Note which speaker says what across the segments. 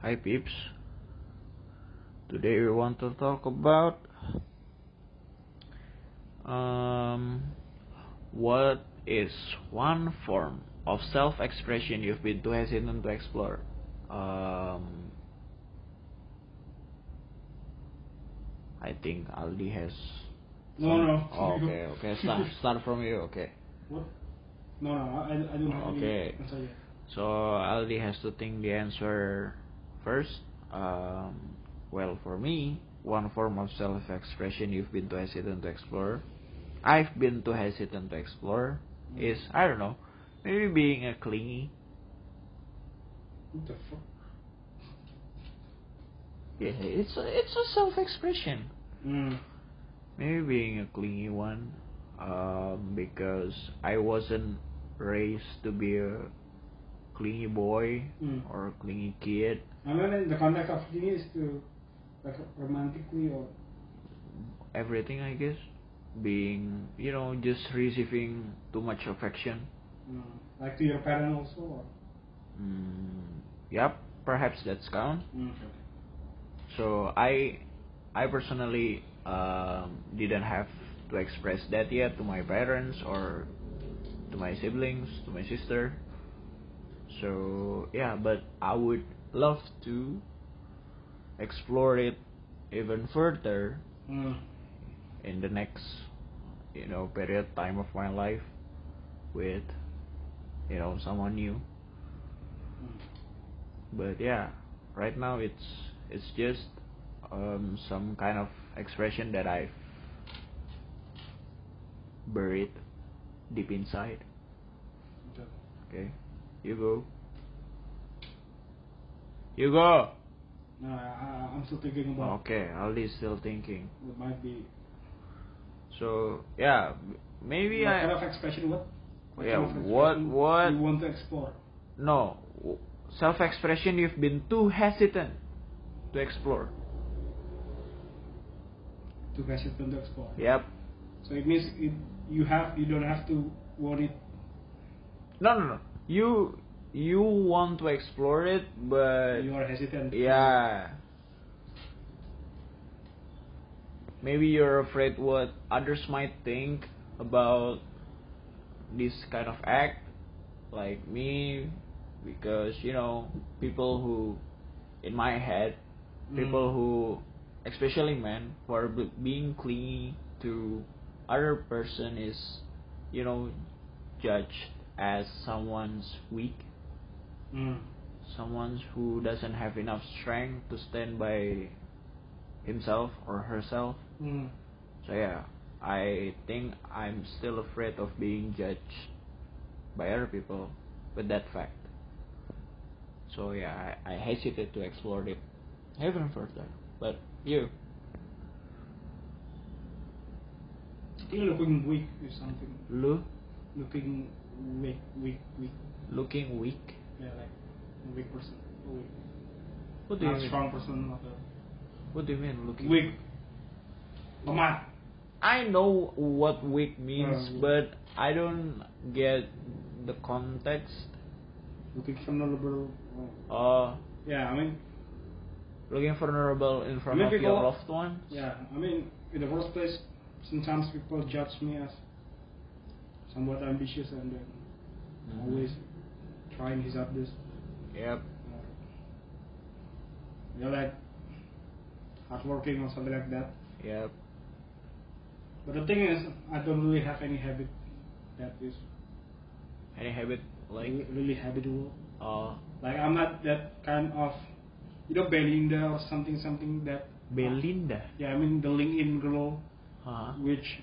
Speaker 1: Hi peeps. Today we want to talk about um, what is one form of self-expression you've been too hesitant to explore. Um, I think Aldi has.
Speaker 2: No,
Speaker 1: some-
Speaker 2: no.
Speaker 1: Oh, okay, okay. Start, start from you. Okay.
Speaker 2: What? No, no. I, I don't have
Speaker 1: Okay.
Speaker 2: any answer yet.
Speaker 1: So Aldi has to think the answer first. Um, well, for me, one form of self-expression you've been too hesitant to explore, I've been too hesitant to explore, is I don't know, maybe being a clingy.
Speaker 2: What the fuck?
Speaker 1: Yeah, it's a, it's a self-expression.
Speaker 2: Mm.
Speaker 1: Maybe being a clingy one, um, because I wasn't raised to be a clingy boy
Speaker 2: Mm.
Speaker 1: or a clingy kid.
Speaker 2: And then the context of clingy is to like romantically or
Speaker 1: everything I guess being you know just receiving too much affection
Speaker 2: mm, like to your parent also. Or?
Speaker 1: mm, yep perhaps that's count
Speaker 2: Mm. Okay.
Speaker 1: so I I personally um, didn't have to express that yet to my parents or to my siblings to my sister so yeah but I would love to explore it even further
Speaker 2: Mm.
Speaker 1: in the next you know period time of my life with you know someone new
Speaker 2: Mm.
Speaker 1: but yeah right now it's it's just um some kind of expression that i've buried deep inside
Speaker 2: Okay.
Speaker 1: okay you go you go
Speaker 2: No, I, I, I'm still thinking about
Speaker 1: okay aldi's still thinking
Speaker 2: what might be.
Speaker 1: so yeah maybe
Speaker 2: what
Speaker 1: i
Speaker 2: kind of expression? What? what
Speaker 1: Yeah,
Speaker 2: kind of
Speaker 1: what-
Speaker 2: expression
Speaker 1: what-
Speaker 2: You want to explore?
Speaker 1: No, self expression you've been too hesitant to explore.
Speaker 2: To hesitant to explore.
Speaker 1: Yep.
Speaker 2: So it means it, you have you don't have to worry.
Speaker 1: No, no, no. You you want to explore it, but
Speaker 2: you are hesitant.
Speaker 1: Uh, yeah. Maybe you're afraid what others might think about this kind of act, like me, because you know people who, in my head,
Speaker 2: Mm.
Speaker 1: people who especially men who are b- being clingy to other person is you know judged as someone's weak
Speaker 2: Mm.
Speaker 1: someone who doesn't have enough strength to stand by himself or herself
Speaker 2: Mm.
Speaker 1: so yeah i think i'm still afraid of being judged by other people with that fact so yeah i, I hesitate to explore it even further but you
Speaker 2: Still looking weak or something.
Speaker 1: Lu
Speaker 2: Looking weak, weak, weak.
Speaker 1: looking weak.
Speaker 2: Yeah, like a weak person. A weak.
Speaker 1: What do you
Speaker 2: Not
Speaker 1: mean?
Speaker 2: strong person, not a
Speaker 1: What do you mean looking
Speaker 2: weak. Lemah.
Speaker 1: I know what weak means,
Speaker 2: Uh,
Speaker 1: but I don't get the context.
Speaker 2: Looking vulnerable. Oh.
Speaker 1: Uh,
Speaker 2: Yeah, I mean,
Speaker 1: looking vulnerable in front
Speaker 2: mean
Speaker 1: of your
Speaker 2: people-
Speaker 1: loved ones.
Speaker 2: yeah, I mean, in the first place, sometimes people judge me as somewhat ambitious and then
Speaker 1: Mhm.
Speaker 2: always trying his hardest.
Speaker 1: Yep.
Speaker 2: Uh, you're like hardworking or something like that.
Speaker 1: Yep.
Speaker 2: But the thing is, I don't really have any habit that is
Speaker 1: Any habit like?
Speaker 2: re- really habitual.
Speaker 1: Uh,
Speaker 2: Like I'm not that kind of, you know, Belinda or something, something that.
Speaker 1: Belinda.
Speaker 2: Yeah, I mean the LinkedIn girl,
Speaker 1: Huh.
Speaker 2: which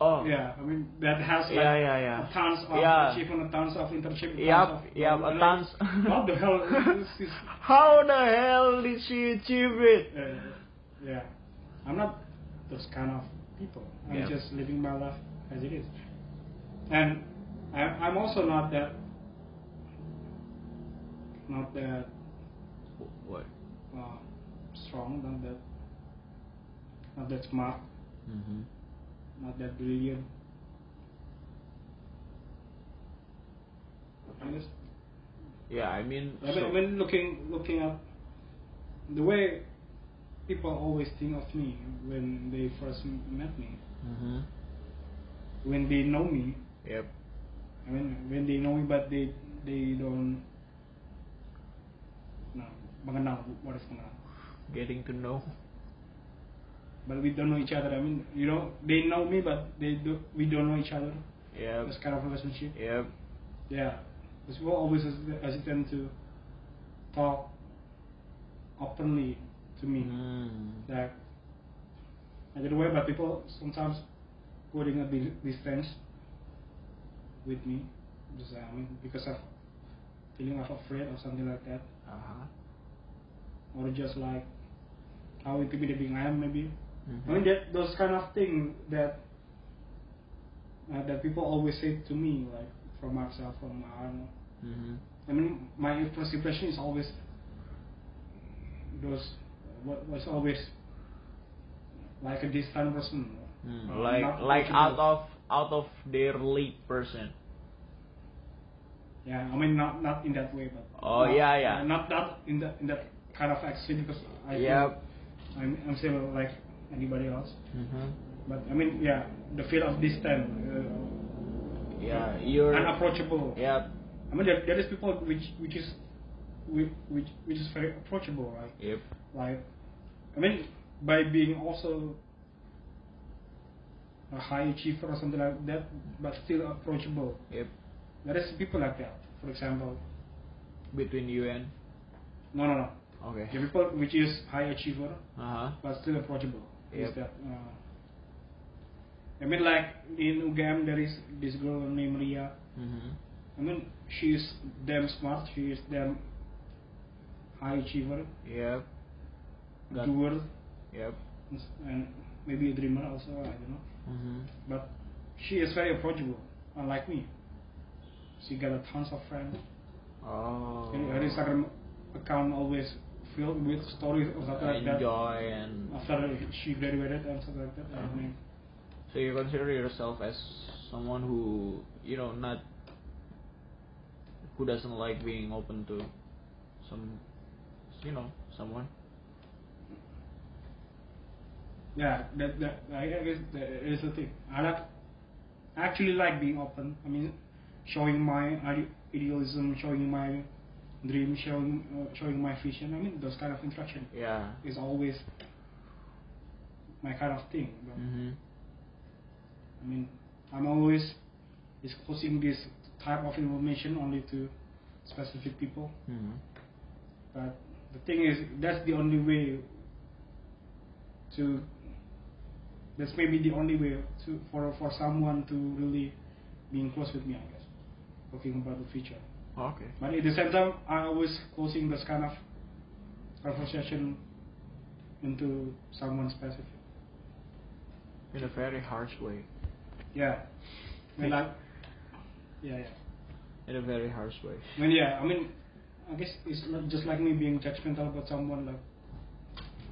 Speaker 1: Oh.
Speaker 2: yeah, I mean that has like
Speaker 1: Yeah, yeah, yeah.
Speaker 2: a tons of
Speaker 1: Yeah.
Speaker 2: achievement, a tons of internship. a
Speaker 1: Yep,
Speaker 2: tons of,
Speaker 1: yep,
Speaker 2: Like,
Speaker 1: a tons.
Speaker 2: What the hell? This is,
Speaker 1: How the hell did she achieve it?
Speaker 2: uh, yeah, I'm not those kind of people. I'm
Speaker 1: Yeah.
Speaker 2: just living my life as it is, and I, I'm also not that, not that
Speaker 1: Wh- What?
Speaker 2: uh, strong, not that, not that smart,
Speaker 1: Mm-hmm.
Speaker 2: not that brilliant. I just,
Speaker 1: Yeah, I mean.
Speaker 2: I mean,
Speaker 1: so-
Speaker 2: I mean, looking, looking at the way people always think of me when they first m- met me,
Speaker 1: Mm-hmm.
Speaker 2: when they know me,
Speaker 1: Yep.
Speaker 2: I mean when they know me but they they don't no mengenal what is mengenal.
Speaker 1: Getting to know.
Speaker 2: But we don't know each other. I mean, you know, they know me, but they do, we don't know each other.
Speaker 1: Yep.
Speaker 2: This kind of relationship.
Speaker 1: Yep.
Speaker 2: Yeah, because people always hesit- hesitant to talk openly to me.
Speaker 1: Mm.
Speaker 2: Like, I get away, but people sometimes putting a di- distance with me. Just, I mean, because of feeling of afraid or something like that,
Speaker 1: Uh-huh.
Speaker 2: or just like how intimidating I am, maybe. I mean,
Speaker 1: Mhm.
Speaker 2: that those kind of thing that uh, that people always say to me, like from myself, from I don't know.
Speaker 1: Mhm.
Speaker 2: I mean, my first impression is always those what was always like a distant person.
Speaker 1: Mm,
Speaker 2: Uh,
Speaker 1: Like
Speaker 2: not
Speaker 1: like out of
Speaker 2: approachable.
Speaker 1: out of their league person.
Speaker 2: yeah, I mean not not in that way, but
Speaker 1: Oh,
Speaker 2: not-
Speaker 1: yeah, yeah.
Speaker 2: not not in that in that kind of accent because I feel
Speaker 1: Yep.
Speaker 2: I'm I'm still like anybody else,
Speaker 1: Mhm.
Speaker 2: but I mean yeah, the feel of distant, uh,
Speaker 1: Yeah, you're
Speaker 2: unapproachable.
Speaker 1: Yep.
Speaker 2: I mean there, there is people which which is which which which is very approachable, right?
Speaker 1: Yep.
Speaker 2: like I mean by being also a high achiever or something like that, but still approachable.
Speaker 1: Yep.
Speaker 2: There is people like that. For example,
Speaker 1: Between you and
Speaker 2: no, no, no.
Speaker 1: okay.
Speaker 2: The people which is high achiever
Speaker 1: Uh huh.
Speaker 2: but still approachable. Is
Speaker 1: Yep.
Speaker 2: that? Uh, I mean, like in UGAM, there is this girl named Ria.
Speaker 1: Mhm.
Speaker 2: I mean, she is damn smart. She is damn high achiever,
Speaker 1: Yep. Got-
Speaker 2: doer,
Speaker 1: Yep.
Speaker 2: and maybe a dreamer also. I don't know.
Speaker 1: Mhm.
Speaker 2: But she is very approachable, unlike me. She got a tons of friends.
Speaker 1: Oh.
Speaker 2: And Her Instagram account always filled with stories or something like that.
Speaker 1: Enjoy Uh-huh. and
Speaker 2: After she graduated and stuff like that. I mean,
Speaker 1: so you consider yourself as someone who you know not who doesn't like being open to some you know someone.
Speaker 2: yeah, that, that I guess that is the thing. I like, I actually like being open. I mean, showing my ide- idealism, showing my dream, showing uh, showing my vision. I mean, those kind of interaction
Speaker 1: Yeah.
Speaker 2: is always my kind of thing. But
Speaker 1: Mhm.
Speaker 2: I mean, I'm always disclosing this type of information only to specific people.
Speaker 1: Mhm.
Speaker 2: But the thing is, that's the only way to. That's maybe the only way to for for someone to really being close with me, I guess. Talking about the future,
Speaker 1: Okay.
Speaker 2: but at the same time, I always closing this kind of conversation into someone specific.
Speaker 1: In a very harsh way.
Speaker 2: Yeah, I mean, like, yeah, yeah.
Speaker 1: In a very harsh way.
Speaker 2: I mean, yeah, I mean, I guess it's not just like me being judgmental about someone. Like,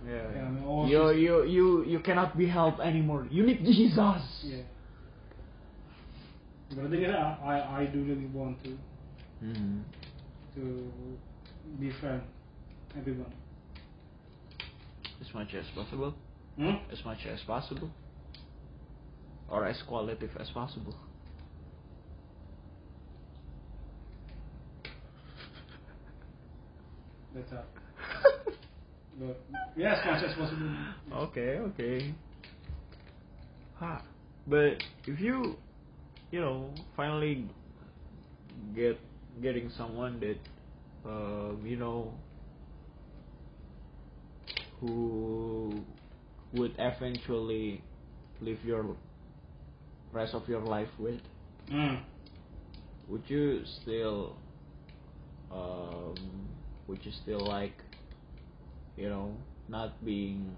Speaker 1: Yeah.
Speaker 2: Yeah, I mean, all
Speaker 1: you
Speaker 2: this-
Speaker 1: you you you cannot be helped anymore. You need Jesus.
Speaker 2: yeah. But the thing is, I, I, I do really want to
Speaker 1: Mhm.
Speaker 2: to be friend everyone.
Speaker 1: As much as possible.
Speaker 2: Hmm?
Speaker 1: As much as possible. Or as qualitative as possible.
Speaker 2: That's all. But yeah, as much as possible.
Speaker 1: okay, okay. Ha. But if you, you know, finally get getting someone that, uh, you know, who would eventually live your rest of your life with,
Speaker 2: Hmm.
Speaker 1: would you still um would you still like you know not being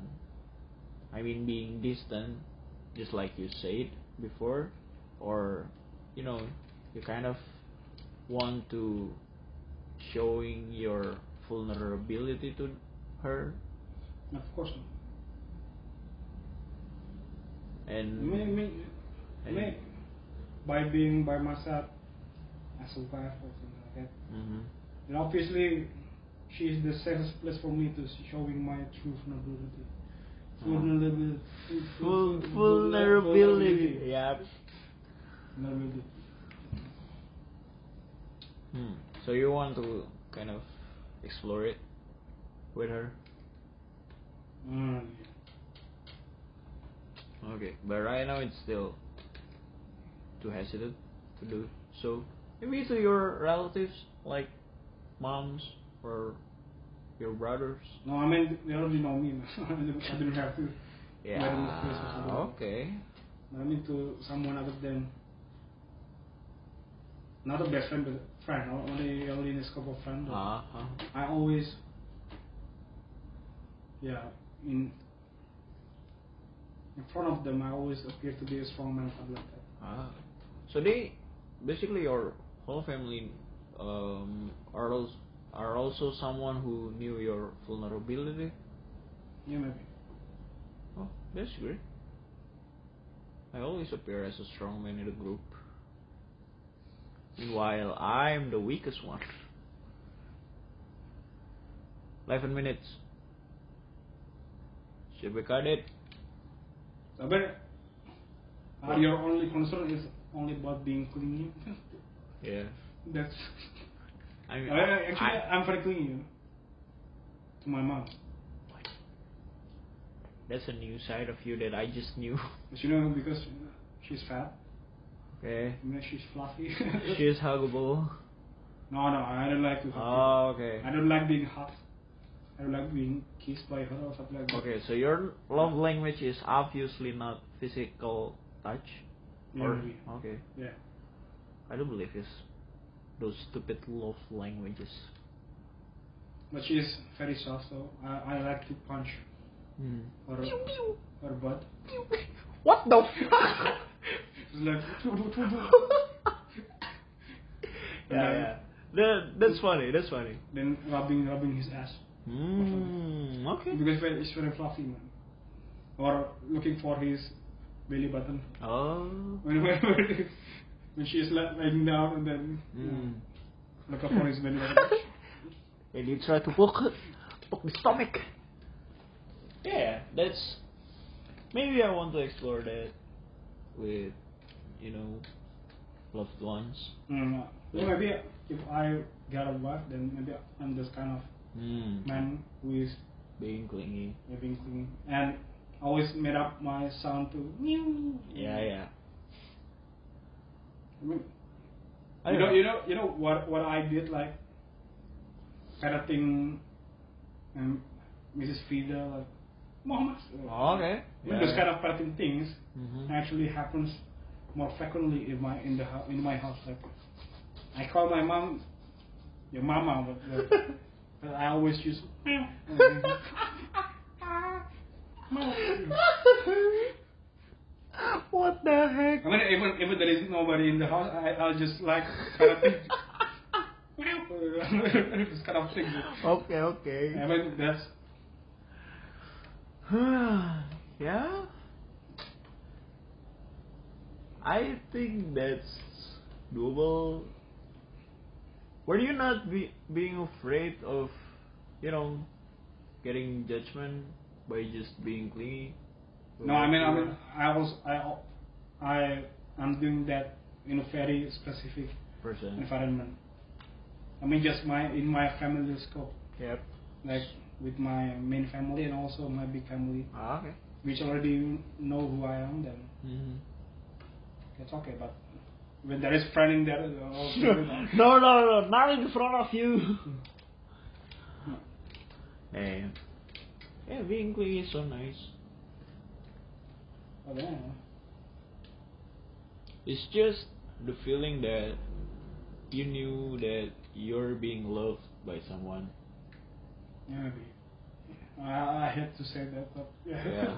Speaker 1: i mean being distant just like you said before or you know you kind of want to showing your vulnerability to her
Speaker 2: Of course.
Speaker 1: and
Speaker 2: Me, me, me.
Speaker 1: and-
Speaker 2: By being by myself, I survive or something like that.
Speaker 1: Mhm.
Speaker 2: And obviously, she is the safest place for me to s- showing my true vulnerability.
Speaker 1: Uh-huh.
Speaker 2: Vulnerability.
Speaker 1: Vul- vulnerability. Yep.
Speaker 2: Vulnerability.
Speaker 1: Hmm. So you want to kind of explore it with her?
Speaker 2: Mm,
Speaker 1: Okay. But right now it's still too hesitant to do so. Maybe to your relatives, like moms or your brothers.
Speaker 2: No, I mean they already know me. man. I don't- I don't have to.
Speaker 1: Yeah.
Speaker 2: let them express what they want.
Speaker 1: Okay.
Speaker 2: I mean to someone other than not a best friend, but friend. or Only only in the scope of friend. or-
Speaker 1: Uh huh.
Speaker 2: I always, yeah, in in front of them, I always appear to be a strong man, something like that.
Speaker 1: Ah. So they basically your whole family um, are also, are also someone who knew your vulnerability.
Speaker 2: Yeah, maybe.
Speaker 1: Oh, that's great. I always appear as a strong man in the group. Meanwhile, I'm the weakest one. 11 minutes. Should we cut it?
Speaker 2: So, but are your only concern is only about being clingy?
Speaker 1: Yeah.
Speaker 2: That's
Speaker 1: I mean,
Speaker 2: Uh, actually
Speaker 1: I-
Speaker 2: I, am very clingy you know, to my mom.
Speaker 1: that's a new side of you that I just knew.
Speaker 2: But you know because she's fat,
Speaker 1: okay.
Speaker 2: you know, she's fluffy.
Speaker 1: She's huggable.
Speaker 2: no, no, I don't like to hug.
Speaker 1: Oh,
Speaker 2: people.
Speaker 1: okay.
Speaker 2: I don't like being hugged. I don't like being kissed by her or something like that.
Speaker 1: Okay, so your love language is obviously not physical touch.
Speaker 2: Yeah,
Speaker 1: or-
Speaker 2: maybe.
Speaker 1: okay.
Speaker 2: Yeah.
Speaker 1: I don't believe it's those stupid love languages.
Speaker 2: But she is very soft, so I, I like to punch
Speaker 1: Hmm.
Speaker 2: her, her butt.
Speaker 1: What the fuck?
Speaker 2: She's like,
Speaker 1: yeah, yeah. That, that's funny. That's funny.
Speaker 2: then rubbing rubbing his ass.
Speaker 1: Hmm. Okay.
Speaker 2: Because very- it's very fluffy, man. Or looking for his belly button.
Speaker 1: Oh.
Speaker 2: When, when, when she is like lying down and then
Speaker 1: Hmm.
Speaker 2: yeah, looking for his belly button.
Speaker 1: and you try to poke it, poke the stomach. Yeah, that's maybe I want to explore that with you know loved ones.
Speaker 2: Mm, well, maybe if I get a wife, then maybe I'm this kind of
Speaker 1: Hmm.
Speaker 2: man who is
Speaker 1: Being clingy.
Speaker 2: living clean. And always made up my sound to mew.
Speaker 1: Yeah, yeah.
Speaker 2: I mean,
Speaker 1: I
Speaker 2: you
Speaker 1: don't
Speaker 2: know, you know, you know what what I did like kind of thing, um, Mrs. Frida like Mohammed.
Speaker 1: Oh, okay.
Speaker 2: Yeah. Those kind of kind of things
Speaker 1: Mhm.
Speaker 2: actually happens more frequently in my in the hou- in my house. Like I call my mom, your mama, but, but, but I always use.
Speaker 1: what the heck?
Speaker 2: I mean, even even there is nobody in the house, I, I'll just like kind of think, this kind of thing.
Speaker 1: okay,
Speaker 2: I
Speaker 1: okay.
Speaker 2: mean, that's
Speaker 1: yeah. I think that's doable. Were you not be, being afraid of, you know, getting judgment by just being clingy?
Speaker 2: no. I mean, I mean, I was I al- I I'm doing that in a very specific
Speaker 1: person.
Speaker 2: environment. I mean, just my in my family scope,
Speaker 1: Yep.
Speaker 2: like with my main family and also my big family,
Speaker 1: Ah, okay.
Speaker 2: which already know who I am. Then
Speaker 1: hmm
Speaker 2: that's okay. But when there is friend in there, they're all
Speaker 1: no, no, no, not in front of you. Hey. Yeah, being clingy is so nice.
Speaker 2: I don't know.
Speaker 1: It's just the feeling that you knew that you're being loved by someone.
Speaker 2: Yeah, maybe. I, I hate to say that, but
Speaker 1: Yeah.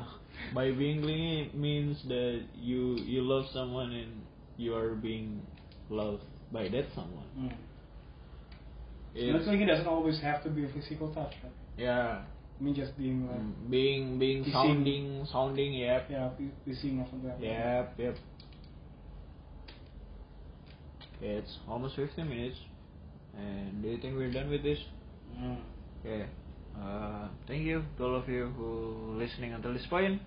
Speaker 1: by being clingy it means that you you love someone and you are being loved by that someone.
Speaker 2: Mm.
Speaker 1: It-
Speaker 2: That's why it doesn't always have to be a physical touch. Right?
Speaker 1: yeah.
Speaker 2: I mean, just being like,
Speaker 1: Mm, Being being
Speaker 2: Mm-hmm.
Speaker 1: sounding
Speaker 2: Kissing.
Speaker 1: sounding yep.
Speaker 2: yeah, be- be seeing or something like that.
Speaker 1: Yep, yep. It's almost 15 minutes, and do you think we're done with this?
Speaker 2: Mm.
Speaker 1: Yeah. Uh, thank you to all of you who listening until this point.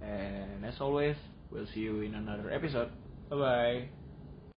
Speaker 1: And as always, we'll see you in another episode. Bye bye.